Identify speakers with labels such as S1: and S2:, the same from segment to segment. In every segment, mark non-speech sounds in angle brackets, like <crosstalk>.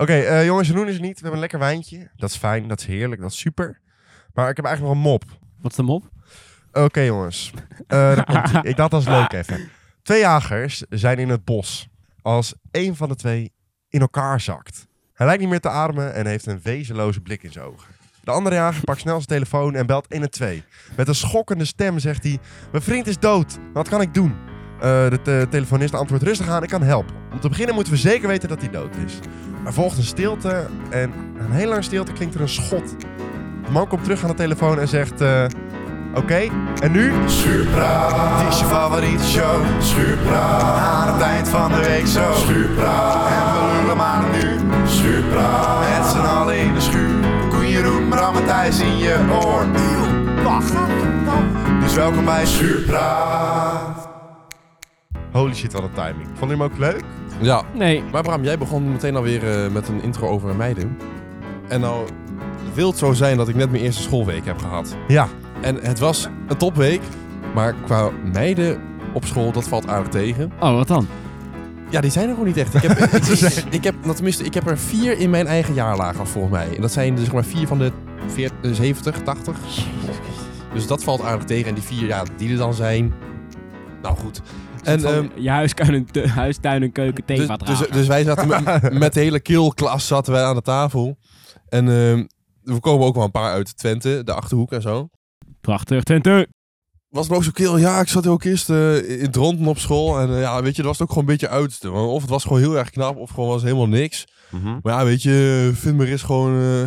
S1: eh, jongens, Jeroen is er niet. We hebben een lekker wijntje. Dat is fijn, dat is heerlijk, dat is super. Maar ik heb eigenlijk nog een mop.
S2: Wat is de mop?
S1: Oké jongens, Eh, daar komt-ie. ik dacht dat is leuk even. Twee jagers zijn in het bos als één van de twee in elkaar zakt. Hij lijkt niet meer te ademen en heeft een wezenloze blik in zijn ogen. De andere jager pakt snel zijn telefoon en belt 112. Met een schokkende stem zegt hij, mijn vriend is dood, wat kan ik doen? Eh, de te- telefonist antwoordt rustig aan, ik kan helpen. Om te beginnen moeten we zeker weten dat hij dood is. Er volgt een stilte en na een heel lange stilte klinkt er een schot. De man komt terug aan de telefoon en zegt... eh, Oké, en nu? Schuurpraat. Het is je favoriete show. Schuurpraat. Aan het eind van de week zo. Schuurpraat. En we lullen maar nu. Schuurpraat. Met z'n allen in de schuur. Koen Jeroen, Bram en Thijs in je oor. Wacht. Dus welkom bij Schuurpraat. Holy shit, wat een timing. Vond je hem ook leuk?
S3: Ja,
S2: Nee.
S3: maar Bram, jij begon meteen alweer eh, met een intro over een meiden. En nou wil het zo zijn dat ik net mijn eerste schoolweek heb gehad.
S1: Ja.
S3: En het was een topweek, maar qua meiden op school, dat valt aardig tegen.
S2: Oh, wat dan?
S3: Ja, die zijn er gewoon niet echt. Ik heb, ik, ik, ik heb, nou, tenminste, ik heb er vier in mijn eigen jaarlaag af, volgens mij. En dat zijn dus zeg maar vier van de veert- eh, 70, 80. Dus dat valt aardig tegen. En die vier, ja, die er dan zijn. Nou goed. En,
S2: Van
S3: ehm,
S2: je huistuin en, te- huistuin en keuken
S3: dus,
S2: thema
S3: dus, dus wij zaten met, met de hele keelklas zaten wij aan de tafel. En ehm, we komen ook wel een paar uit Twente, de Achterhoek en zo.
S2: Prachtig, Twente.
S3: Was het ook zo kil? Ja, ik zat ook eerst eh, in Dronten op school. En eh, ja, weet je, dat was het ook gewoon een beetje uit. Of het was gewoon heel erg knap, of gewoon was het helemaal niks. Maar ja, weet je, Vinmer is gewoon eh,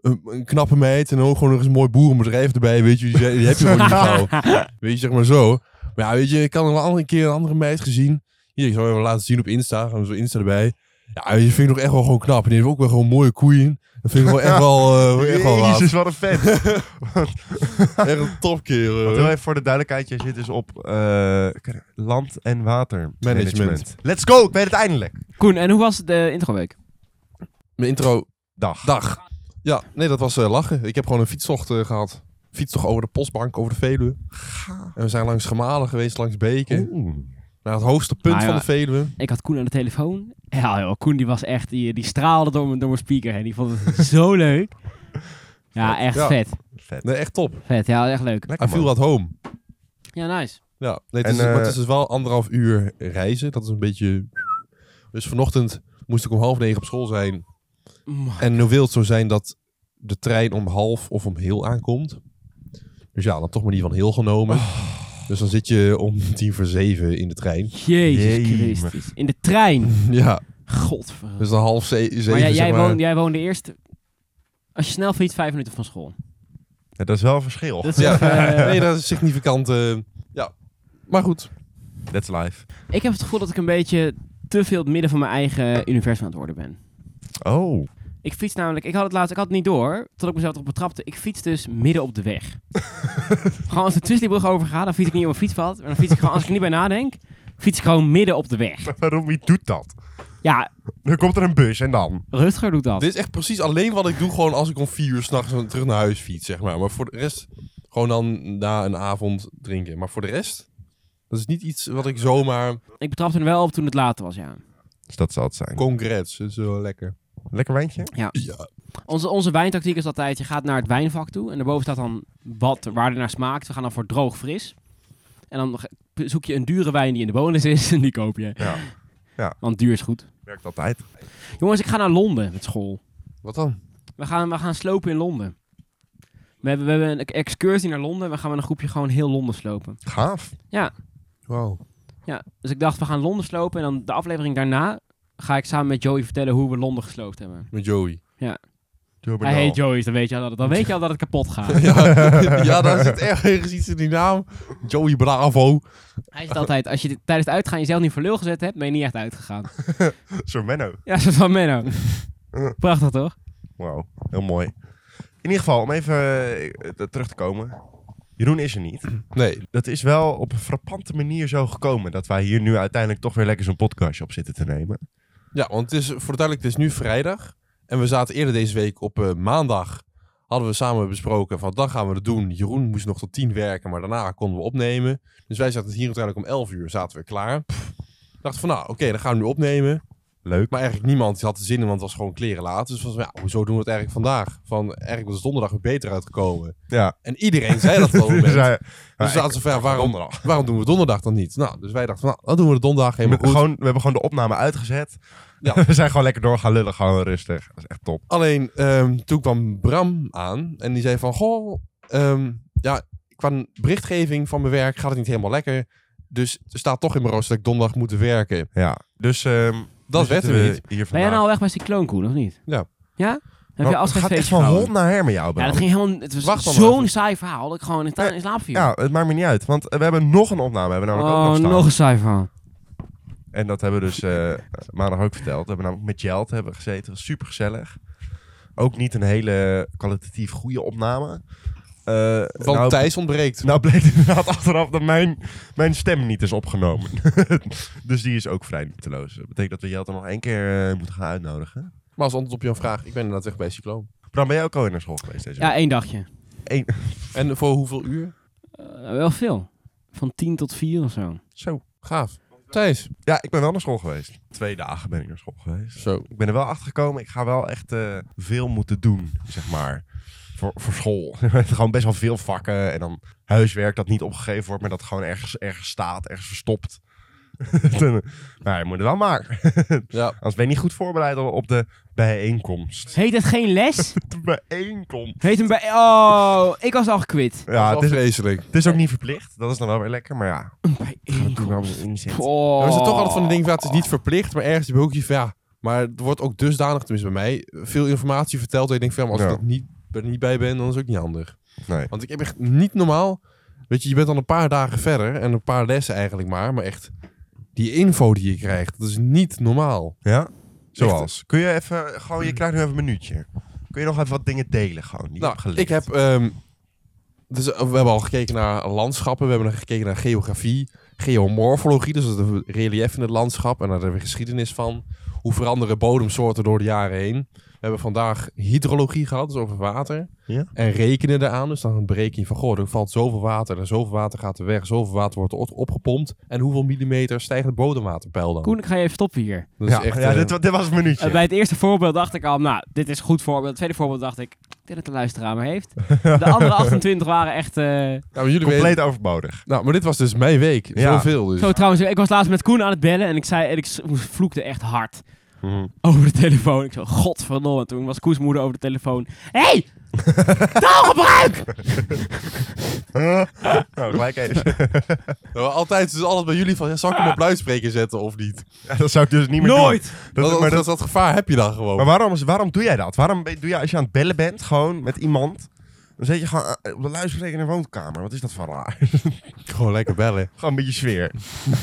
S3: een, een knappe meid. En ook gewoon nog eens een mooi boerenbedrijf erbij, weet je. Die, zijn- die heb je gewoon niet gauw. Weet je, zeg maar zo. Maar ja, weet je, ik had nog wel een andere keer een andere meid gezien. Hier, ik zal even laten zien op Insta. Gaan we zo Insta erbij. Ja, weet je vind ik nog echt wel gewoon knap. En die heeft ook wel gewoon mooie koeien. Dat vind ik wel echt wel,
S1: Oh,
S3: eh echt wel laat.
S1: Jezus, wat een <laughs> vet.
S3: Echt een topkerel.
S1: Heel
S3: hoor.
S1: even voor de duidelijkheid, jij zit dus op eh, land- en watermanagement.
S3: Management.
S1: Let's go, ik weet het eindelijk.
S2: Koen, en hoe was de introweek?
S3: Mijn intro
S1: Dag.
S3: Dag. Ja, nee, dat was eh, lachen. Ik heb gewoon een fietstocht eh, gehad. Fietstocht over de postbank, over de Veluwe. En we zijn langs Gemalen geweest, langs Beken.
S1: Oeh.
S3: Naar het hoogste punt
S2: Nou ja.
S3: van de Veluwe.
S2: Ik had Koen aan de telefoon. Ja, joh, Koen die was echt, die, die straalde door mijn, door mijn speaker heen. Die vond het <laughs> zo leuk. Ja, echt
S3: Ja.
S2: vet.
S1: Vet.
S3: Nee, echt top.
S2: Vet, ja, echt leuk.
S3: Hij
S1: Lekker
S3: viel wat home.
S2: Ja, nice.
S3: Ja, nee, het,
S1: En,
S3: is, maar het
S1: eh,
S3: is dus wel anderhalf uur reizen. Dat is een beetje... Dus vanochtend moest ik om half negen op school zijn. En nu wil het zo zijn dat de trein om half of om heel aankomt. Dus ja, dan toch maar die van heel genomen.
S2: Oh.
S3: Dus dan zit je om <laughs> tien voor zeven in de trein. <laughs>
S2: Jezus
S1: Jemig.
S2: Christus. In de trein.
S3: Ja,
S2: Godverdomme.
S3: dus dan half ze- zeven,
S2: Maar jij, jij,
S3: zeg maar.
S2: woonde, jij woonde eerst... Als je snel fietst, vijf minuten van school.
S1: Ja, dat is wel een verschil.
S2: Dat is
S3: Ja,
S2: even, eh,
S3: <laughs> nee, dat is significant. eh, ja, maar goed.
S1: That's life.
S2: Ik heb het gevoel dat ik een beetje te veel het midden van mijn eigen universum aan het worden ben.
S1: Oh. <laughs>
S2: Ik fiets namelijk, ik had het laatst, ik had het niet door, tot ik mezelf erop betrapte. Ik fiets dus midden op de weg. gewoon als de Twizzleybrug overgaat, dan fiets ik niet op mijn fietspad. Maar dan fiets ik gewoon, als ik er niet bij nadenk, fiets ik gewoon midden op de weg.
S1: Waarom, wie doet dat?
S2: Ja,
S1: Nu komt er een bus en dan.
S2: Rutger doet dat.
S3: Dit is echt precies alleen wat ik doe gewoon als ik om vier uur s'nachts terug naar huis fiets, zeg maar. Maar voor de rest, gewoon dan na een avond drinken. Maar voor de rest, dat is niet iets wat ik zomaar...
S2: Ik betrapte er wel op toen het later was, ja.
S1: Dus dat zal het zijn.
S3: Congrats, dat is wel lekker.
S1: Lekker wijntje?
S3: Ja.
S2: Onze, onze wijntactiek is altijd, je gaat naar het wijnvak toe. En daarboven staat dan wat, waar er naar smaakt. We gaan dan voor droog fris. En dan ge- zoek je een dure wijn die in de bonus is <laughs> en die koop je.
S1: Ja.
S2: Want duur is goed.
S1: Werkt altijd.
S2: Jongens, ik ga naar Londen met school.
S3: Wat dan?
S2: We gaan, we gaan slopen in Londen. We hebben, we hebben een excursie naar Londen. We gaan met een groepje gewoon heel Londen slopen.
S1: Gaaf.
S3: Wow.
S2: Ja, dus ik dacht, we gaan Londen slopen. En dan de aflevering daarna ga ik samen met Joey vertellen hoe we Londen gesloopt hebben.
S3: Met Joey.
S1: Joe
S2: Hij
S1: Bernal.
S2: heet Joey, dus dan weet je al dat het, dan weet je al dat het kapot gaat.
S3: <laughs> ja, <laughs> ja, daar zit echt ergens iets in die naam. Joey Bravo.
S2: Hij zegt altijd, als je dit- tijdens het uitgaan jezelf niet voor lul gezet hebt, ben je niet echt uitgegaan.
S1: Zo Menno.
S2: <laughs> Ja, soort van Menno. Prachtig toch?
S1: Wauw, heel mooi. In ieder geval, om even eh, eh, terug te komen. Jeroen is er niet.
S3: Nee,
S1: Dat is wel op een frappante manier zo gekomen... dat wij hier nu uiteindelijk toch weer lekker zo'n podcastje op zitten te nemen.
S3: Ja, want het is voor de duidelijk, het is nu vrijdag. En we zaten eerder deze week op eh, maandag. Hadden we samen besproken van dan gaan we het doen. Jeroen moest nog tot tien werken, maar daarna konden we opnemen. Dus wij zaten hier uiteindelijk om 11 uur, zaten we klaar. Dachten van nou, oké, dan gaan we nu opnemen.
S1: Leuk.
S3: Maar eigenlijk niemand had er zin in, want het was gewoon kleren laat. Dus was van, ja, hoezo doen we het eigenlijk vandaag? Van, eigenlijk was donderdag weer beter uitgekomen.
S1: Ja.
S3: En iedereen zei dat
S1: <laughs>
S3: gewoon.
S1: Dus hij-
S3: Dus
S1: maar
S3: we zaten ze van, ja,
S1: <laughs>
S3: waarom,
S1: donderdag.
S3: waarom doen we donderdag dan niet? Nou, dus wij dachten, van, nou, dan doen we de donderdag
S1: we,
S3: helemaal
S1: hebben
S3: goed.
S1: gewoon, we hebben gewoon de opname uitgezet.
S3: Ja.
S1: <laughs> we zijn gewoon lekker door gaan lullen, gewoon rustig. Dat is echt top.
S3: Alleen, ehm, toen kwam Bram aan en die zei van, goh, ehm, ja, qua berichtgeving van mijn werk gaat het niet helemaal lekker. Dus er staat toch in mijn rooster dat ik donderdag moet werken.
S1: Ja. Dus ehm,
S3: Dat
S1: nu
S3: werd
S1: zitten
S3: hem
S1: we
S3: niet.
S1: Hier
S2: Ben jij
S1: vandaag.
S2: nou al weg bij Cycloonkoel, of niet?
S3: Ja.
S2: Ja? Heb
S1: Nou, het gaat echt
S2: je afscheidsfeestje
S1: van
S2: gehouden?
S1: hond naar her met jou, Bram.
S2: Ja, dat ging helemaal... Het was
S3: Wacht dan maar
S2: zo'n
S3: even.
S2: saai verhaal dat ik gewoon in, ta- in slaap viel.
S1: Ja, het maakt me niet uit. Want we hebben nog een opname. Hebben we namelijk ook nog
S2: oh,
S1: staan.
S2: nog een saai verhaal.
S1: En dat hebben we dus eh, maandag ook verteld. We hebben namelijk met Jelt hebben we gezeten. was super gezellig. Ook niet een hele kwalitatief goede opname. Eh,
S3: Want
S1: nou,
S3: Thijs ontbreekt.
S1: nou bleek inderdaad achteraf dat mijn, mijn stem niet is opgenomen. <laughs> dus die is ook vrij nutteloos. Dat betekent dat we Jelte nog één keer eh, moeten gaan uitnodigen.
S3: Maar als antwoord op jouw vraag, ik ben inderdaad weg bij Cycloon.
S1: Bram, ben jij ook al naar school geweest deze
S2: Ja, één dagje.
S1: week? Eén-
S3: En voor hoeveel uur?
S2: Eh, wel veel. Van 10 tot 4 of zo.
S1: Zo.
S3: Gaaf. Thijs.
S1: Ja, ik ben wel naar school geweest. Twee dagen ben ik naar school geweest.
S3: Zo.
S1: Ik ben er wel achter gekomen. Ik ga wel echt eh, veel moeten doen, zeg maar. Voor, voor school. <laughs> gewoon best wel veel vakken. En dan huiswerk dat niet opgegeven wordt, maar dat gewoon ergens, ergens staat, ergens verstopt. <laughs> Dan- eh, maar je moet het wel maken.
S3: Ja.
S1: Anders ben je niet goed voorbereid op- op de bijeenkomst.
S2: Heet het geen les?
S3: <laughs>
S1: De bijeenkomst.
S2: <laughs> Heet hem bij... Oh, ik was al gekwit.
S1: Ja, het
S3: is
S1: is,
S3: vreselijk.
S1: het is ook niet verplicht. Dat is dan wel weer lekker, maar
S3: <laughs>
S1: ja.
S2: Bij Oh.
S3: Ja, maar is het
S1: Oh.
S3: toch altijd van de ding, van, ja, het is niet verplicht, maar ergens heb je ook iets van, ja, maar er wordt ook dusdanig, tenminste bij mij, veel informatie verteld dat je denkt van, ja, maar als
S1: Ja.
S3: ik dat niet, er niet bij ben, dan is het ook niet handig.
S1: Nee.
S3: Want ik heb echt niet normaal, weet je, je bent dan een paar dagen verder en een paar lessen eigenlijk maar, maar echt, die info die je krijgt, dat is niet normaal.
S1: Ja? Zoals. Kun je even, gewoon, je krijgt nu even een minuutje. Kun je nog even wat dingen delen gewoon? Die je
S3: Hmm. nou,
S1: hebt geleerd?
S3: ik heb, ehm, dus eh, we hebben al gekeken naar landschappen, we hebben gekeken naar geografie, geomorfologie, dus dat is het relief in het landschap en daar hebben we geschiedenis van. Hoe veranderen bodemsoorten door de jaren heen? We hebben vandaag hydrologie gehad, dus over water.
S1: Ja.
S3: En rekenen eraan, dus dan een berekening van, goh, er valt zoveel water en zoveel water gaat er weg, zoveel water wordt op- opgepompt en hoeveel millimeter stijgt het bodemwaterpeil dan?
S2: Koen, ik ga je even stoppen hier.
S3: Dat is
S1: ja,
S3: echt,
S1: ja
S3: eh,
S1: dit, wa- dit was een minuutje.
S2: Eh, bij het eerste voorbeeld dacht ik al, nou, dit is een goed voorbeeld. Het tweede voorbeeld dacht ik, ik denk dat de luisteraar me heeft.
S3: <laughs>
S2: De andere 28 waren echt... eh,
S3: nou, maar jullie
S1: Compleet
S3: weten,
S1: overbodig.
S3: nou, maar dit was dus mijn week.
S1: Ja.
S3: Zoveel dus.
S2: Zo trouwens, ik was laatst met Koen aan het bellen en ik zei, en ik s- vloekte echt hard
S3: Mhm.
S2: over de telefoon. Ik zo, godverdomme. Toen was Koens moeder over de telefoon. Hé, hey,
S3: <laughs>
S2: taalgebruik!
S1: Nou, gelijk even. <laughs>
S3: Nou, altijd, dus altijd bij jullie van, ja, zal ik hem op luidspreker zetten of niet?
S1: Ja, dat zou ik dus niet meer
S2: Nooit!
S1: doen.
S3: Dat,
S1: Dat, maar, dat,
S3: dat gevaar heb je dan gewoon.
S1: maar waarom, is- waarom doe jij dat? Waarom ben- doe jij als je aan het bellen bent, gewoon met iemand... Dan zet je gewoon eh, op de luisterspreker in de woonkamer. Wat is dat voor raar?
S3: Gewoon lekker <laughs>
S1: <laughs>
S3: bellen.
S1: gewoon een beetje sfeer.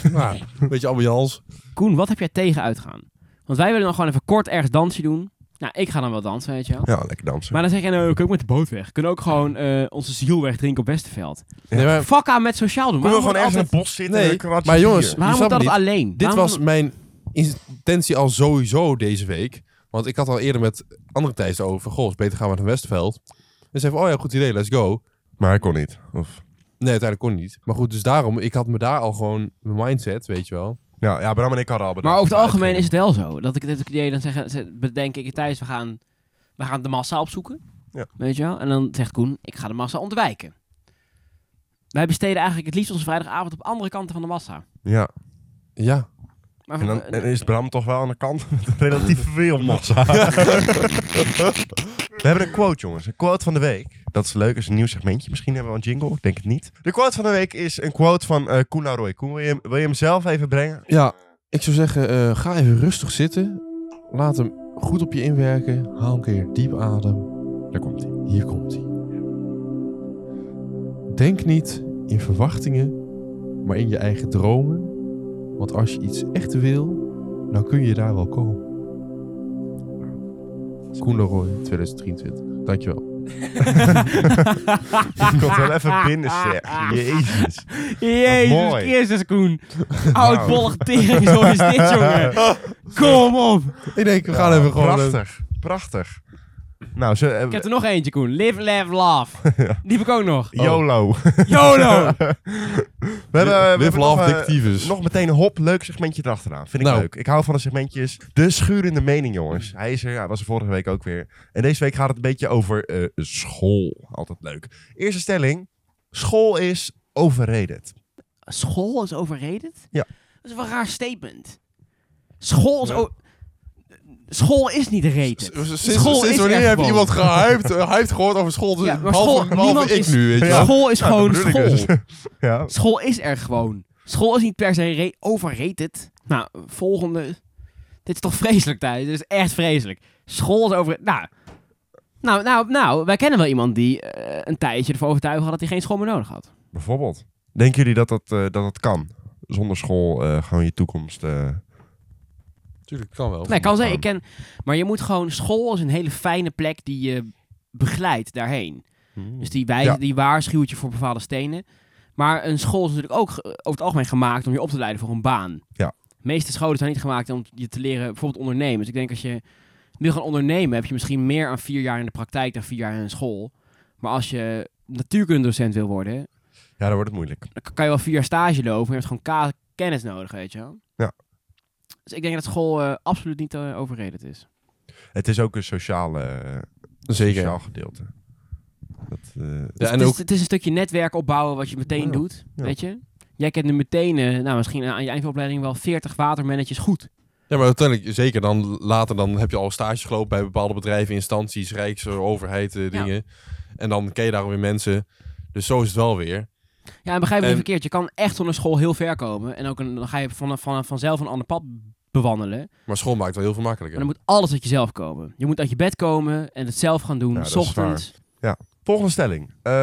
S3: Ja, Nou, een beetje ambiance.
S2: Koen, wat heb jij tegen uitgaan? Want wij willen dan gewoon even kort ergens dansje doen. Nou, ik ga dan wel dansen, weet je wel.
S1: Ja, lekker dansen.
S2: Maar dan zeg jij, nou, we kunnen ook met de boot weg. We kunnen ook gewoon eh, onze ziel wegdrinken op Westerveld.
S3: Nee, maar,
S2: Fuck aan met sociaal doen.
S1: Kunnen we
S2: Waarom
S1: gewoon
S2: moet
S1: ergens
S2: altijd,
S1: in het bos zitten?
S3: Nee,
S1: en een kratje
S3: maar jongens,
S1: bier?
S2: waarom
S3: Je
S2: moet
S3: snapt
S2: altijd
S3: het
S2: alleen?
S3: dit
S2: Waarom
S3: was
S2: moet-
S3: mijn intentie al sowieso deze week. Want ik had al eerder met andere Thijs over, goh, is beter gaan we naar Westveld. Dus hij van, oh ja, goed idee, let's go.
S1: Maar hij kon niet. Of...
S3: Nee, uiteindelijk kon niet. Maar goed, dus daarom, ik had me daar al gewoon mijn mindset, weet je wel.
S1: Ja, ja, Bram en ik hadden al bedacht.
S2: Maar over het
S1: dat we
S2: algemeen is
S1: uitgingen.
S2: het wel zo. Dat ik dit idee dan zeggen, ze- bedenk ik thuis, we gaan, we gaan de massa opzoeken.
S1: Ja.
S2: Weet je wel? En dan zegt Koen, ik ga de massa ontwijken. Wij besteden eigenlijk het liefst onze vrijdagavond op andere kanten van de massa.
S1: Ja,
S3: Ja.
S2: Maar
S1: en dan
S2: eh,
S1: en is Bram toch wel aan de kant <laughs> met relatief veel massa. We hebben een quote, jongens. Een quote van de week. Dat is leuk, is een nieuw segmentje. Misschien hebben we een jingle, ik denk het niet. De quote van de week is een quote van eh Koen Roy. Koen, wil je, hem- wil je hem zelf even brengen? <laughs>
S3: Ja, ik zou zeggen, eh, ga even rustig zitten. Laat hem goed op je inwerken. Haal een keer diep adem.
S1: Daar komt hij.
S3: Hier komt hij. Denk niet in verwachtingen, maar in je eigen dromen. Want als je iets echt wil, dan kun je daar wel komen. Koen de Roy, 2023. Dankjewel.
S1: <laughs> Komt wel even binnen,
S2: <laughs>
S1: zeg. Jezus. Wat
S2: Jezus
S1: mooi. Nou. <laughs>
S2: Christus, Koen. Oudbollig tering, zo is dit, jongen. Kom op.
S3: Ik denk, we
S1: eh,
S3: eh,
S1: Ja, Prachtig, prachtig. Nou, ze
S2: Ik
S1: hebben...
S2: heb er nog eentje, Koen. Live, laugh,
S1: <laughs>
S2: love. Die heb ik ook nog.
S3: Oh.
S1: YOLO. We
S2: YOLO!
S1: hebben, eh, we
S3: Wif
S1: hebben
S3: Love
S1: nog, eh,
S3: Dictivus.
S1: nog meteen een hop, leuk segmentje erachteraan. Vind ik
S3: Dus- Nou.
S1: leuk. Ik hou van de segmentjes. De schurende mening, jongens. Hij is er, hij was er vorige week ook weer. En deze week gaat het een beetje over eh, school. Altijd leuk. Eerste stelling. School is overrated.
S2: School is overrated?
S1: Ja.
S2: Dat is wel een raar statement. School is...
S3: Ja.
S2: o- School is niet rated.
S3: Sinds,
S2: School
S3: sinds
S2: is
S3: wanneer
S2: echt
S3: heb je
S2: gewoon-
S3: iemand gehyped, eh, hyped gehoord over school? Dus
S2: Ja, maar
S3: behalve,
S2: school-
S3: behalve
S2: niemand
S3: ik
S2: is-
S3: nu, weet je wel.
S2: School is
S1: Ja, dat
S2: gewoon
S1: bedoel ik
S2: school.
S1: dus. Ja.
S2: School is er gewoon. School is niet per se re- overrated. Nou, volgende. Dit is toch vreselijk thuis? Dit is echt vreselijk. School is over. Nou, nou, nou, nou wij kennen wel iemand die eh, een tijdje ervoor overtuigd had dat hij geen school meer nodig had.
S1: Bijvoorbeeld. Denken jullie dat dat, eh, dat, dat kan? Zonder school eh, gewoon je toekomst... eh,
S3: Tuurlijk, kan wel.
S2: Nee, kan zijn.
S1: gaan.
S2: Ik ken. Maar je moet gewoon. School is een hele fijne plek die je begeleidt daarheen. Dus die, wij,
S1: Ja.
S2: die waarschuwt je voor bepaalde stenen. Maar een school is natuurlijk ook ge- over het algemeen gemaakt om je op te leiden voor een baan.
S1: Ja.
S2: De meeste scholen zijn niet gemaakt om je te leren bijvoorbeeld ondernemen. Dus ik denk als je wil gaan ondernemen, heb je misschien meer aan vier jaar in de praktijk dan vier jaar in een school. Maar als je natuurkundedocent wil worden,
S1: Ja, dan wordt het moeilijk.
S2: dan kan je wel vier jaar stage lopen. Maar je hebt gewoon ka- kennis nodig, weet je wel.
S1: Ja.
S2: Dus ik denk dat school eh, absoluut niet eh, overredend is.
S1: Het is ook een sociale, eh,
S3: Zeker.
S1: sociaal gedeelte. Dat, eh,
S3: Ja,
S2: het,
S3: en
S2: is,
S3: ook,
S2: het is een stukje netwerk opbouwen wat je meteen
S1: Ja.
S2: doet,
S1: Ja.
S2: weet je. Jij kent nu meteen, eh, nou misschien aan je eindopleiding wel 40 watermannetjes goed.
S3: ja, maar uiteindelijk, zeker dan later, dan heb je al stages gelopen bij bepaalde bedrijven, instanties, rijksoverheid, eh, dingen. En dan ken je daar weer mensen. Dus zo is het wel weer.
S2: Ja, en begrijp me niet
S3: En-
S2: verkeerd, je kan echt zonder school heel ver komen. En ook een, dan ga je van, van, vanzelf een ander pad bewandelen.
S3: Maar school maakt het wel heel veel
S2: Maar
S3: makkelijker.
S2: dan moet alles uit jezelf komen. Je moet uit je bed komen en het zelf gaan doen,
S1: Ja, dat
S2: s
S1: is
S2: ochtends.
S1: Volgende stelling. Eh,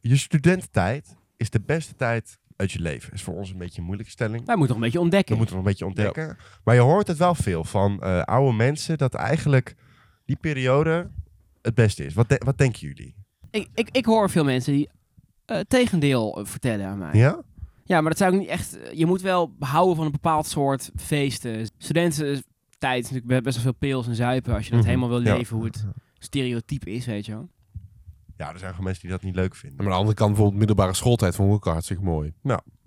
S1: je studententijd is de beste tijd uit je leven. Is voor ons een beetje een moeilijke stelling.
S2: Wij moeten nog een beetje
S1: We
S2: ontdekken.
S1: moeten nog een beetje ontdekken. Maar je hoort het wel veel van eh, oude mensen dat eigenlijk die periode het beste is. Wat, de- wat denken jullie?
S2: Ik, ik, ik hoor veel mensen die eh, het tegendeel eh, vertellen aan mij.
S1: Ja?
S2: Ja, maar dat zou ik niet echt... eh, Je moet wel houden van een bepaald soort feesten. Studententijd is natuurlijk best wel veel pils en zuipen... als je dat
S1: Mhm.
S2: helemaal wil
S1: Ja.
S2: leven, hoe het stereotype is, weet je wel.
S1: Ja, er zijn gewoon mensen die dat niet leuk
S3: Maar
S1: vinden.
S3: aan de andere kant, bijvoorbeeld middelbare schooltijd vond ik ook hartstikke mooi.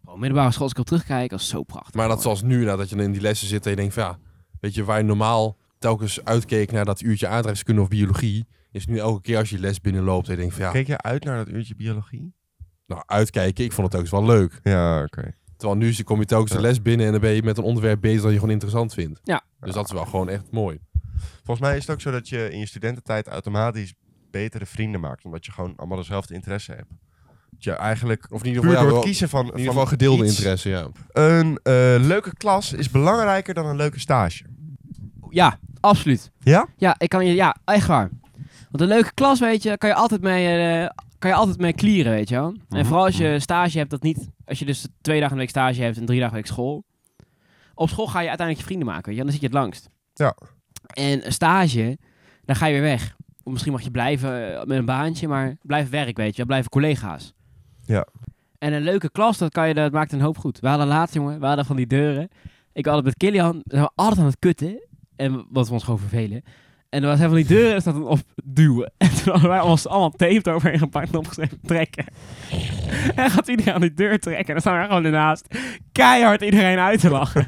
S2: Oh, middelbare school, als ik al terugkijk, dat is zo prachtig.
S3: Maar dat
S2: hoor.
S3: zoals nu, nadat je in die lessen zit en je denkt van ja, weet je, waar je normaal telkens uitkeek naar dat uurtje aardrijkskunde of biologie, is nu elke keer als je les binnenloopt en je denkt van ja,
S1: Keek je uit naar dat uurtje biologie?
S3: nou uitkijken, ik vond het telkens wel leuk.
S1: Ja, oké.
S3: Terwijl nu kom je telkens de
S1: Ja.
S3: les binnen en dan ben je met een onderwerp bezig dat je gewoon interessant vindt.
S2: Ja.
S3: Dus dat is wel gewoon echt mooi.
S1: Volgens mij is het ook zo dat je in je studententijd automatisch betere vrienden maakt. Omdat je gewoon allemaal dezelfde interesse hebt. Dat je eigenlijk...
S3: Of in ieder
S1: Puur
S3: geval,
S1: door
S3: ja,
S1: het
S3: wel-
S1: kiezen van,
S3: in ieder
S1: van
S3: geval gedeelde
S1: iets-
S3: interesse, ja.
S1: Een eh, leuke klas is belangrijker dan een leuke stage.
S2: Ja, absoluut.
S1: Ja?
S2: Ja, ik kan je, ja, echt waar. Want een leuke klas, weet je, kan je altijd mee, eh, kan je altijd mee clearen, weet je wel.
S1: Mhm,
S2: En vooral als je stage hebt, dat niet, als je dus twee dagen een week stage hebt en drie dagen een week school. Op school ga je uiteindelijk je vrienden maken, weet je, dan zit je het langst.
S1: Ja.
S2: En een stage, dan ga je weer weg. Of misschien mag je blijven eh, met een baantje, maar blijf werk, weet je, wel, blijven collega's.
S1: Ja.
S2: En een leuke klas, dat, kan je, dat maakt een hoop goed. We hadden laatst, jongen, we hadden van die deuren. Ik had het met Kilian, we waren altijd aan het kutten. En wat we ons gewoon vervelen. En er was hij van die deuren en staat dan op duwen. <laughs> En toen hadden wij ons allemaal tape eroverheen gepakt en opgeschreven trekken. <laughs> En gaat iedereen aan die deur trekken. En dan staan wij gewoon ernaast keihard iedereen uit te lachen.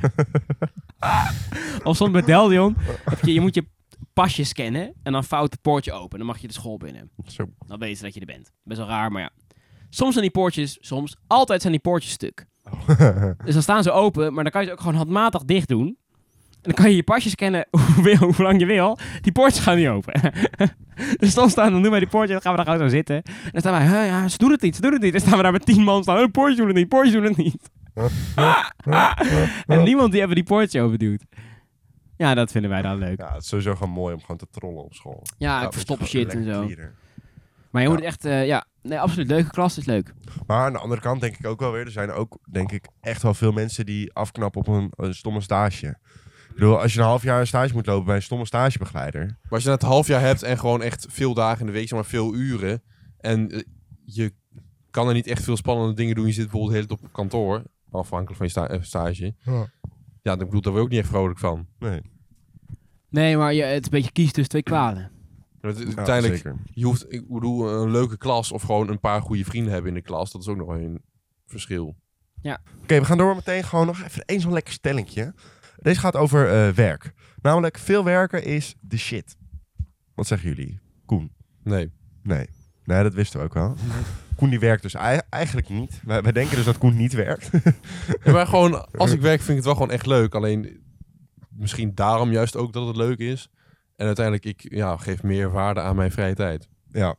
S2: of zo'n medaillon. Heb je, je moet je pasje scannen en dan fout het poortje open. Dan mag je de school binnen.
S1: Zo.
S2: Dan weten ze dat je er bent. Best wel raar, maar ja. Soms zijn die poortjes, soms, altijd zijn die poortjes stuk. Dus dan staan ze open, maar dan kan je ze ook gewoon handmatig dicht doen. En dan kan je je pasjes scannen <laughs> hoe, wil- hoe lang je wil. Die poortjes gaan niet open. <laughs> dus dan staan, dan doen wij die poortjes, dan gaan we daar gewoon zo zitten. En dan staan wij, "Huh, ja, ze doen het niet, ze doen het niet. Dan staan we daar met tien man staan, oh, de poortjes doen het niet, poortjes doen het niet. <laughs> en niemand die even die poortjes overduwt. Ja, dat vinden wij dan leuk.
S1: ja, het is sowieso gewoon mooi om gewoon te trollen op school.
S2: Ja, Ah, ik
S1: Dat
S2: verstop
S1: Nou, is gewoon
S2: shit en
S1: lekker
S2: zo.
S1: cleaner.
S2: Maar je moet
S1: Ja.
S2: echt, eh, ja, nee, absoluut, leuke klas is leuk.
S1: Maar aan de andere kant denk ik ook wel weer, er zijn ook denk ik echt wel veel mensen die afknappen op een, een stomme stage. Ik bedoel, als je een half jaar een stage moet lopen bij een stomme stagebegeleider.
S3: Maar als je net een half jaar hebt en gewoon echt veel dagen in de week, zeg maar veel uren. En eh, je kan er niet echt veel spannende dingen doen. Je zit bijvoorbeeld de hele tijd op kantoor, afhankelijk van je sta- eh, stage.
S1: Ja.
S3: Ja, ik bedoel, daar word je ook niet echt vrolijk van.
S1: Nee.
S2: Nee, maar je, het is een beetje kies tussen twee kwalen.
S3: Want het-
S1: Ja,
S3: uiteindelijk,
S1: zeker.
S3: je hoeft, ik bedoel, een leuke klas of gewoon een paar goede vrienden hebben in de klas. Dat is ook nog een verschil.
S1: Oké, we gaan door meteen gewoon nog even één zo'n lekker stellingje. Deze gaat over eh, werk. Namelijk, veel werken is de shit. Wat zeggen jullie? Koen?
S3: Nee.
S1: Nee. Nee, dat wisten we ook wel. Koen die werkt dus ei- eigenlijk niet. Wij, wij denken dus dat Koen niet werkt. <laughs>
S3: Ja, maar gewoon, als ik werk vind ik het wel gewoon echt leuk. Alleen misschien daarom juist ook dat het leuk is. En uiteindelijk, ik ja, geef meer waarde aan mijn vrije tijd.
S1: ja.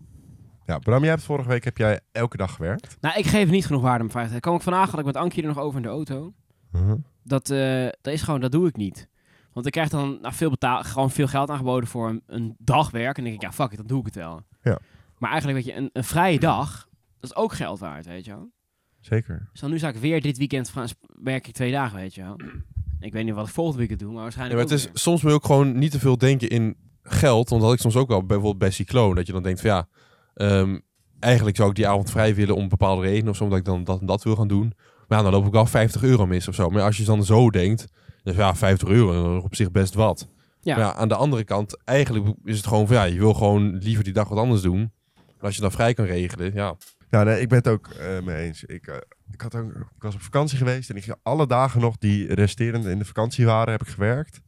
S1: Ja, Bram, jij hebt vorige week heb jij elke dag gewerkt.
S2: Nou, ik geef niet genoeg waarde aan mijn veiligheid. Kom ik vandaag had ik met Ankie er nog over in de auto. Dat, eh, dat is gewoon, dat doe ik niet. Want ik krijg dan nou, veel, betaal, gewoon veel geld aangeboden voor een, een dag werk. En dan denk ik, ja, fuck it, dan doe ik het wel.
S1: Ja.
S2: Maar eigenlijk, weet je, een, een vrije dag, dat is ook geld waard, weet je wel.
S1: Zeker.
S2: Dus dan nu zou ik weer dit weekend gaan sp- werk ik twee dagen, weet je wel. Ik weet niet wat ik volgend weekend doe, maar
S3: Ja,
S2: waarschijnlijk
S3: maar het is,
S2: ook
S3: soms wil ik gewoon niet te veel denken in geld. Want dat had ik soms ook wel bijvoorbeeld bij Cycloon. Dat je dan denkt van ja, ehm, eigenlijk zou ik die avond vrij willen om bepaalde redenen of zo. Omdat ik dan dat en dat wil gaan doen. Maar ja, dan loop ik wel 50 euro mis of zo. Maar ja, als je dan zo denkt, dan is ja, 50 euro dat is op zich best wat.
S2: Ja.
S3: Maar ja, aan de andere kant, eigenlijk is het gewoon van ja, je wil gewoon liever die dag wat anders doen. Maar als je dan vrij kan regelen, ja.
S1: Ja, nee, ik ben het ook eh, mee eens. Ik, eh, ik, had ook, ik was op vakantie geweest en ik ging alle dagen nog die resterende in de vakantie waren, heb ik gewerkt.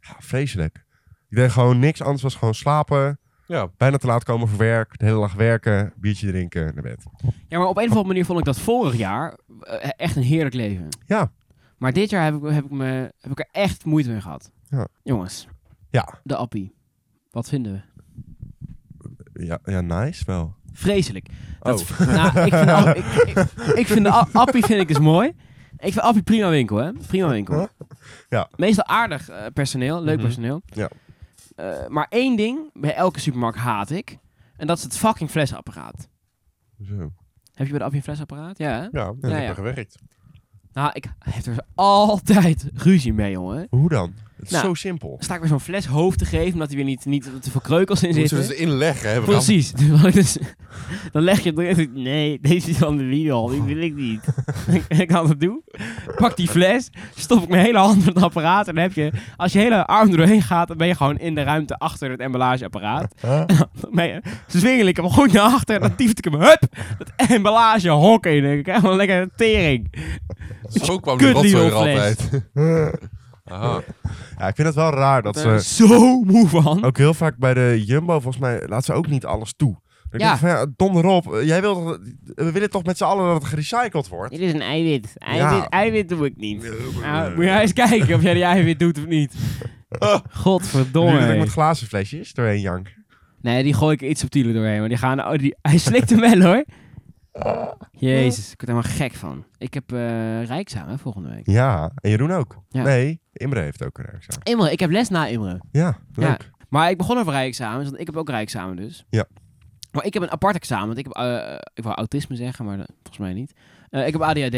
S1: Ja, vreselijk. Ik deed gewoon niks anders, was gewoon slapen.
S3: Ja,
S1: Bijna te laat komen voor werk, de hele dag werken, biertje drinken, naar bed.
S2: weer. Ja, maar op een of andere manier vond ik dat vorig jaar eh, echt een heerlijk leven.
S1: Ja.
S2: Maar dit jaar heb ik, heb ik, me, heb ik er echt moeite mee gehad.
S1: Ja.
S2: Jongens,
S1: Ja,
S2: de appie. Wat vinden we?
S1: ja, ja nice wel.
S2: Vreselijk. Dat
S3: Oh.
S2: v- nou, ik, vind
S1: <laughs>
S2: app- ik, ik, ik vind de a- appie vind ik dus mooi. Ik vind appie prima winkel, hè? Prima winkel.
S1: Ja.
S2: Meestal aardig eh, personeel, leuk
S3: Mhm.
S2: personeel.
S1: Ja.
S2: Eh, maar één ding bij elke supermarkt haat ik. En dat is het fucking flesapparaat.
S1: Zo.
S2: Heb je bij de appie een flesapparaat? Ja, hè?
S3: ja,
S2: Ja, ja.
S3: gewerkt.
S2: Nou, ik heb er altijd ruzie mee, jongen.
S1: Hoe dan? Het is
S2: Nou.
S1: zo simpel.
S2: Dan sta ik weer zo'n fles hoofd te geven, omdat hij weer niet, niet te veel kreukels in
S3: Moeten we
S1: Dus
S2: zitten.
S3: ze inleggen, hè? Bram?
S2: Precies. <laughs> Dus wat ik dus- dan leg je het erin. Nee, deze is van de wiel. Die wil ik niet. ik, ik had het doen. Pak die fles. Stop ik mijn hele hand in het apparaat. En dan heb je... Als je hele arm er doorheen gaat, dan ben je gewoon in de ruimte achter het emballageapparaat. dan ben je, zwingel ik hem goed naar achter. Dan tieft ik hem. Hup! Het emballagehok in. Ik krijg gewoon lekker een tering.
S3: Zo kwam de
S2: Kut
S3: rotzooi er
S2: Leo-fles.
S3: altijd.
S2: <laughs>
S3: Aha.
S1: Ja, ik vind het wel raar dat
S2: Ik ben er
S1: ze
S2: zo moe van.
S1: ook heel vaak bij de Jumbo, volgens mij, laat ze ook niet alles toe. Dan
S2: Ja.
S1: denk ik van, ja, donder op. Eh, Jij wilt, toch- we willen toch met z'n allen dat het gerecycled wordt?
S2: <laughs> Dit is een eiwit.
S1: Eiwit- Ja.
S2: eiwit doe ik niet. Nou, moet jij eens kijken of jij die eiwit doet of niet. Ah,
S1: Nu
S2: Godverdomme.
S1: dat ik
S2: hé.
S1: met glazen flesjes doorheen jank.
S2: Nee, die gooi ik er iets subtieler doorheen. Maar die gaan... Oh, die, <laughs> hij slikt hem wel, hoor. Jezus, ik word er helemaal gek van. Ik heb eh Rijkszaam, hè, volgende week.
S1: Ja, en Jeroen ook.
S2: Ja.
S1: Nee, Imre heeft ook een examen.
S2: Imre, ik heb les na Imre.
S1: Ja,
S2: Ja.
S1: leuk.
S2: Maar ik begon over rijexamens, want ik heb ook rijexamen dus.
S1: Ja.
S2: Maar ik heb een apart examen, want ik heb, eh, ik wou autisme zeggen, maar dat- volgens mij niet. Eh, ik heb ADHD.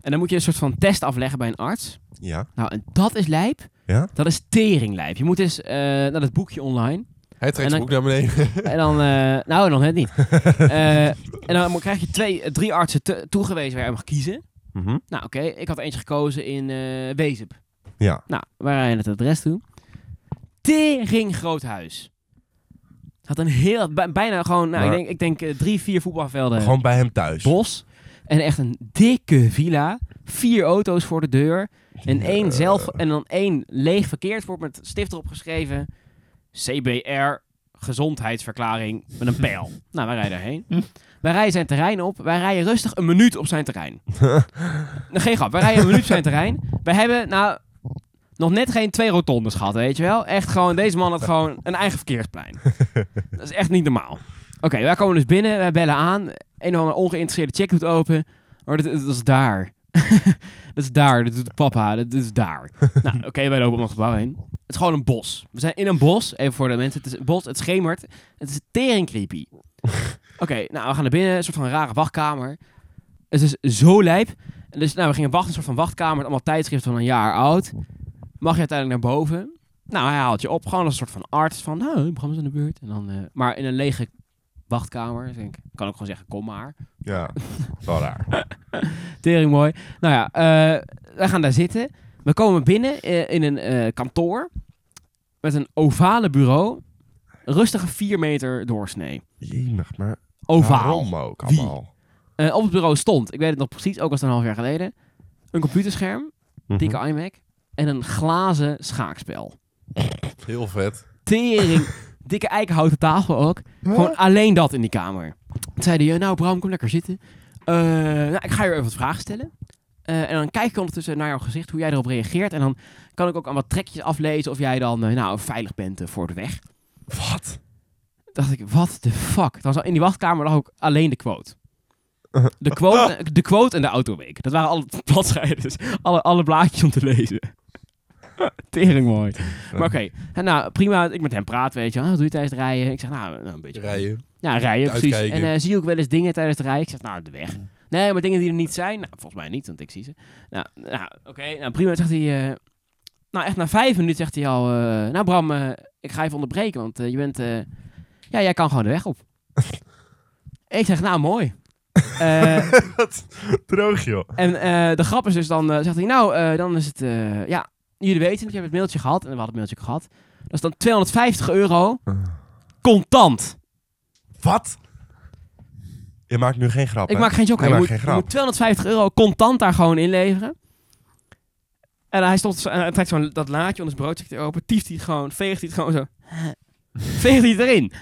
S2: En dan moet je een soort van test afleggen bij een arts.
S1: Ja.
S2: Nou, en dat is lijp.
S1: Ja?
S2: Dat is teringlijp. Je moet eens eh, naar dat boekje
S1: <laughs>
S2: online.
S3: Hij trekt
S2: En dan-
S3: zijn boek naar beneden. <laughs>
S2: En dan, eh, nou, dan
S1: <laughs>
S2: net niet. Eh, en dan mo- krijg je twee, eh, drie artsen te- toegewezen waar je mag kiezen.
S1: Mhm.
S2: Nou, oké, ik had eentje gekozen in eh Wezep.
S1: Ja.
S2: Nou, waar rijden het adres toe? Tering groot huis. Had een heel, bij- bijna gewoon, nou,
S1: Maar-
S2: ik denk, ik denk eh, drie, vier voetbalvelden
S1: Gewoon bij hem thuis.
S2: bos. En echt een dikke villa. Vier auto's voor de deur. En één zelf en dan één leeg verkeerd wordt met stift erop geschreven. CBR gezondheidsverklaring met een pijl. nou, wij rijden daarheen. Wij rijden zijn terrein op. Wij rijden rustig een minuut op zijn terrein. Nou, geen grap. Wij rijden een minuut op zijn terrein. Wij hebben nou nog net geen twee rotondes gehad, weet je wel? Echt gewoon, deze man had gewoon een eigen verkeersplein. Dat is echt niet normaal. Oké, wij komen dus binnen. Wij bellen aan. Een of andere ongeïnteresseerde check doet open. Maar dat, dat is daar. dat is daar. Dat doet papa. Dat, dat is daar. nou, oké, wij lopen om het gebouw heen. Het is gewoon een bos. We zijn in een bos. Even voor de mensen. Het is een bos. Het schemert. Het is tering creepy. oké, nou, we gaan naar binnen. Een soort van rare wachtkamer. Het is zo lijp. En dus, nou, we gingen wachten. Een soort van wachtkamer. Met allemaal tijdschriften van een jaar oud. Mag je uiteindelijk naar boven. Nou, hij haalt je op. Gewoon als een soort van arts. Van, nou, Bram is aan de beurt. En dan, eh, maar in een lege wachtkamer. Dus ik denk, kan ook gewoon zeggen, kom maar.
S1: Ja, wel raar.
S2: Tering mooi. Nou ja, eh, wij gaan daar zitten. We komen binnen eh, in een eh, kantoor met een ovale bureau Rustige 4 meter doorsnee.
S1: Jemig, maar
S2: Ovaal.
S1: waarom ook
S2: Wie?
S1: allemaal?
S2: Eh, op het bureau stond, ik weet het nog precies, ook was het een half jaar geleden, een computerscherm, dikke iMac en een glazen schaakspel.
S3: Heel vet.
S2: Tering, <laughs> dikke eikenhouten tafel ook. Gewoon alleen dat in die kamer. Toen zei hij, eh, nou Bram, kom lekker zitten. Eh, nou, ik ga je even wat vragen stellen. Eh, en dan kijk ik ondertussen naar jouw gezicht, hoe jij erop reageert. En dan kan ik ook aan wat trekjes aflezen of jij dan eh, nou, veilig bent eh, voor de weg.
S1: Wat?
S2: dacht ik, wat de fuck? Dan was, in die wachtkamer lag ook alleen de quote. De quote, de quote en de autoweek. Dat waren alle <laughs> bladzijden, dus alle, alle blaadjes om te lezen. <laughs> Tering mooi. Maar oké, en nou prima, ik met hem praat, weet je wel. Ah, Wat doe je tijdens het rijden? Ik zeg, nou, nou, een beetje
S3: Rijden.
S2: ja, rijden, precies. En
S3: Uitkijken.
S2: eh, zie je ook wel eens dingen tijdens het rijden? Ik zeg, nou, de weg. Nee, maar dingen die er niet zijn? Nou, volgens mij niet, want ik zie ze. Nou, nou oké, nou prima. Zegt hij, eh, nou echt na vijf minuten zegt hij al, eh, nou Bram, eh, ik ga even onderbreken, want eh, je bent, eh, ja, jij kan gewoon de weg op. ik zeg, nou mooi. Eh,
S1: Droog, joh.
S2: en eh, de grap is dus dan, eh, zegt hij, nou, eh, dan is het, eh, ja, jullie weten, het, je hebt het mailtje gehad, en we hadden het mailtje ook gehad. Dat is dan 250 euro, contant.
S1: Wat? Je maakt nu geen grap,
S2: Ik
S1: hè?
S2: maak geen joker.
S1: Hij
S2: Je moet,
S1: maakt geen
S2: je
S1: grap.
S2: moet 250 euro contant daar gewoon inleveren. En hij stond, en hij trekt zo'n dat laadje onder zijn broodstukje open, tieft hij het gewoon, veegt hij het gewoon <laughs> zo. Veegt hij het erin.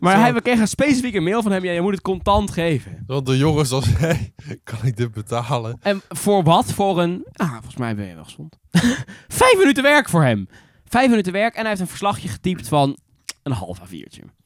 S2: Maar hij, we kregen een specifieke mail van hem, ja, je moet het contant geven.
S3: Want de jongens als hij, <laughs> kan ik dit betalen?
S2: En voor wat? Voor een, ah, volgens mij ben je wel gezond. <laughs> Vijf minuten werk voor hem. Vijf minuten werk en hij heeft een verslagje getypt van een half A4'tje.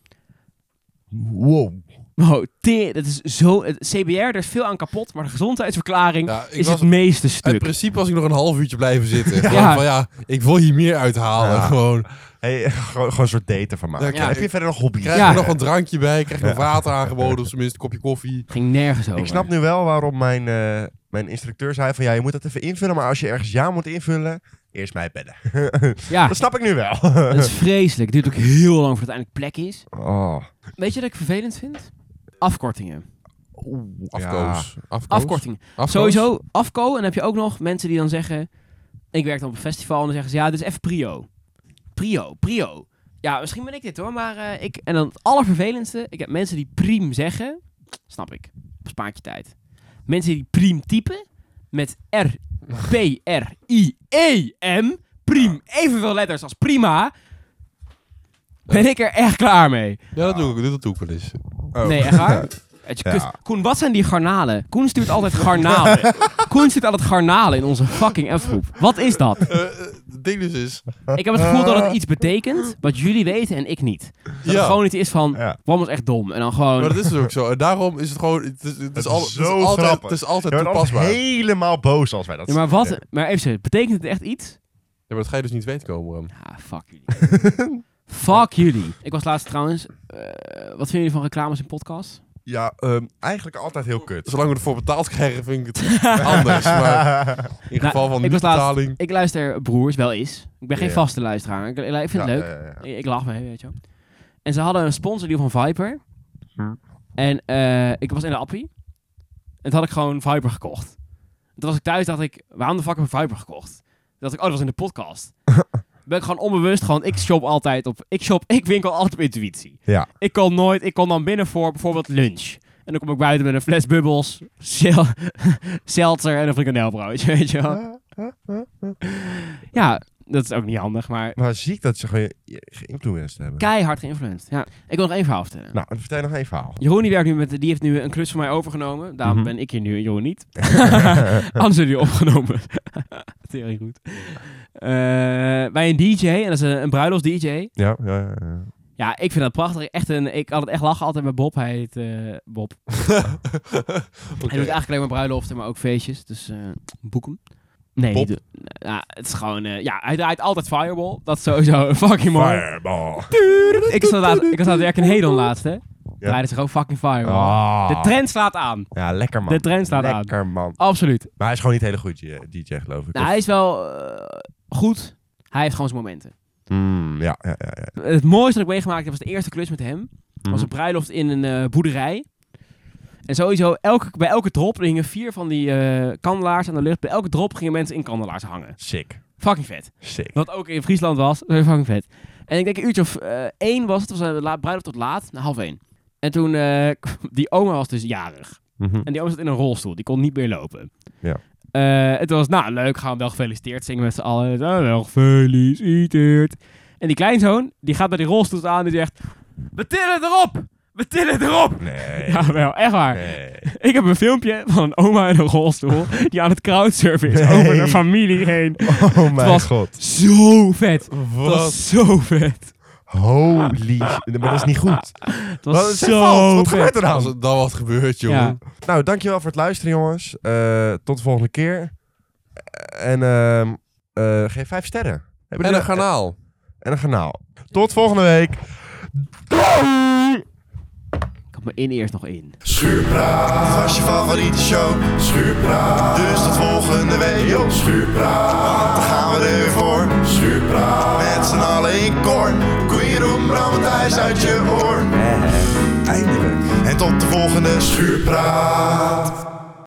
S1: Wow.
S2: Wow, te- dat is zo, het CBR, er is veel aan kapot, maar de gezondheidsverklaring
S3: Ja, ik
S2: is
S3: was-
S2: het meeste
S3: In
S2: stuk.
S3: principe was ik nog een half uurtje blijven zitten. Gewoon van, ja, ik wil hier meer uithalen.
S1: Ja.
S3: Gewoon.
S1: Hey, <laughs> gewoon, gewoon een soort daten van maken.
S3: Ja,
S2: kijk.
S1: Heb je verder nog hobby's?
S3: Krijg
S2: Ja.
S3: er nog een drankje bij, krijg je nog water aangeboden, of tenminste een kopje koffie.
S2: Ging nergens over.
S1: Ik snap nu wel waarom mijn, eh, mijn instructeur zei van... Ja, je moet dat even invullen, maar als je ergens ja moet invullen... Eerst mij bellen. <laughs>
S2: Ja,
S1: Dat snap ik nu
S2: <laughs>
S1: wel.
S2: dat is vreselijk. Het duurt ook heel lang voordat het eindelijk plek is.
S1: Oh.
S2: Weet je wat ik vervelend vind? Afkortingen.
S1: Oeh,
S3: Afkoos. Afkoos.
S2: Afkortingen.
S3: Afkoos.
S2: Sowieso afko. En dan heb je ook nog mensen die dan zeggen... Ik werk dan op een festival en dan zeggen ze... Ja, dit is even prio. Prio, prio. Ja, misschien ben ik dit hoor, maar eh, ik... En dan het allervervelendste. Ik heb mensen die priem zeggen. Snap ik. Bespaart je tijd. Mensen die priem typen. Met R, P, R, I, E, M. Priem. Evenveel letters als prima. Ben ik er echt klaar mee.
S3: Ja, dat doe ik, dat doe ik wel eens.
S1: Oh.
S2: Nee, echt
S1: <laughs>
S2: waar? Uit je
S1: Ja.
S2: kust. Koen, wat zijn die garnalen? Koen stuurt altijd
S1: <laughs>
S2: garnalen. Koen stuurt altijd garnalen in onze fucking F-groep. Wat is dat?
S3: <laughs> het ding dus is...
S2: Ik heb het gevoel dat het iets betekent wat jullie weten en ik niet. Dat het gewoon niet is van,
S1: Ja.
S2: Bram is echt dom. En dan gewoon,
S3: Maar dat is dus ook zo. En daarom is het gewoon... Het is, het is,
S1: is
S3: al- het is
S1: zo
S3: altijd,
S1: grappig.
S3: het is altijd
S1: Je wordt altijd
S3: toepasbaar. Ja,
S1: helemaal boos als wij dat
S2: Ja, maar wat,
S1: zeggen.
S2: maar even, serieus, betekent het echt iets?
S3: maar dat ga je dus niet weten komen, Bram.
S2: Ja, fuck
S1: <laughs>
S2: jullie. fuck jullie. Ik was laatst trouwens, eh, wat vinden jullie van reclames in podcasts?
S1: Ja, ehm, eigenlijk altijd heel kut.
S3: Zolang we ervoor betaald krijgen, vind ik het <laughs> anders.
S1: <laughs>
S3: Maar in
S2: Nou,
S3: geval van
S2: ik was laatst-
S3: niet-betaling...
S2: Ik luister Broers wel eens. Ik ben geen
S1: Ja.
S2: vaste luisteraar. Ik, ik vind het
S1: Ja,
S2: leuk.
S1: ja, ja, ja.
S2: Ik, ik lach mee, weet je wel. En ze hadden een sponsordeal van Viper.
S1: Ja.
S2: En eh, ik was in de appie. En toen had ik gewoon Viper gekocht. En toen was ik thuis, dacht ik, waarom de fuck heb ik Viper gekocht? Toen dacht ik, oh, dat was in de
S1: <laughs>
S2: podcast. ben ik gewoon onbewust, gewoon, ik shop altijd op, ik shop, ik winkel altijd op intuïtie.
S1: Ja.
S2: Ik kom nooit, ik kom dan binnen voor bijvoorbeeld lunch. En dan kom ik buiten met een fles bubbels, <laughs> zel- seltzer en een frikandelbroodje, weet je wel.
S1: <laughs>
S2: Ja, dat is ook niet handig, maar
S1: Maar ziek dat ze gewoon je- geïnfluenced hebben.
S2: keihard geïnfluenced. Ja. Ik wil nog één verhaal vertellen.
S1: nou, dan vertel je nog één verhaal.
S2: Jeroen die werkt nu met, die heeft nu een klus van mij overgenomen. Daarom
S1: Mhm.
S2: ben ik hier nu en Jeroen niet. <laughs> Anders zijn jullie opgenomen. <laughs> Tering goed. Eh, bij een DJ, en dat is een, een bruilofts DJ.
S1: Ja, ja, ja, ja.
S2: Ja, ik vind dat prachtig. Echt een, ik had het echt lachen altijd met Bob. Hij heet eh, Bob. Hij doet eigenlijk alleen maar bruiloften, maar ook feestjes. Dus eh boek hem. Nee,
S3: Bob?
S2: niet doen. Nou, het is gewoon... eh, ja, hij draait altijd Fireball. Dat is sowieso <laughs> fucking mooi.
S1: Fireball.
S2: Ik zat, laatst, ik zat aan het werk in Hedon laatst, hè. Draaide zich ook fucking Fireball.
S1: Ah.
S2: De trend slaat aan.
S1: Ja, lekker man.
S2: De trend staat aan.
S1: Lekker man.
S2: Absoluut.
S1: Maar hij is gewoon niet een hele goede DJ, geloof ik.
S2: Nou,
S1: Of-
S2: hij is wel eh, goed. Hij heeft gewoon zijn momenten.
S1: Mm, ja, ja, ja. ja.
S2: Het mooiste dat ik meegemaakt heb was de eerste klus met hem.
S1: Mhm.
S2: was een bruiloft in een eh, boerderij. En sowieso, elke, bij elke drop hingen vier van die eh, kandelaars aan de lucht. Bij elke drop gingen mensen in kandelaars hangen.
S1: Sick.
S2: Fucking vet.
S1: Sick.
S2: Wat ook in Friesland was, dat was fucking vet. En ik denk een uurtje of eh, één was het, het was eh, la- bruiloft tot laat, nou, half één. En toen, eh, <laughs> die oma was dus jarig.
S1: Mhm.
S2: En die oma zat in een rolstoel, die kon niet meer lopen.
S1: Ja.
S2: Eh, het was, nou leuk, gaan we wel gefeliciteerd zingen met z'n allen. Nou, wel gefeliciteerd. En die kleinzoon, die gaat bij die rolstoel aan en die zegt... We tillen erop! We
S1: <laughs>
S2: tillen erop!
S1: Nee.
S2: Ja, wel, echt waar. <laughs>
S1: nee.
S2: Ik heb een filmpje van een oma in een rolstoel die aan het crowdsurfen is
S1: Nee.
S2: over de familie heen.
S1: Oh mijn
S2: was-
S1: god.
S2: Zo vet. Het
S3: Wat?
S2: was zo vet.
S1: Holy shit. Maar dat is niet goed.
S2: Het
S1: Wat,
S2: was
S1: is fout?
S2: zo
S1: Wat
S2: vet.
S1: gebeurt er
S3: Als
S1: dan?
S3: het dan wat gebeurt, jongen.
S2: Ja.
S1: Nou, dankjewel voor het luisteren, jongens. Eh, tot de volgende keer. En ehm, eh, geef vijf sterren. Hebben
S3: En
S1: jullie-
S3: een garnaal.
S1: En een kanaal. Tot volgende week. Doei!
S2: Ik had me in eerst nog in.
S4: Schuurpraat was je favoriete show. Schuurpraat, dus tot volgende week. Yo, schuurpraat, want dan gaan we er weer voor. Schuurpraat, met z'n allen in koor. Koeien, Roem, Bram en Thijs uit je oor. Eindelijk. En tot de volgende Schuurpraat.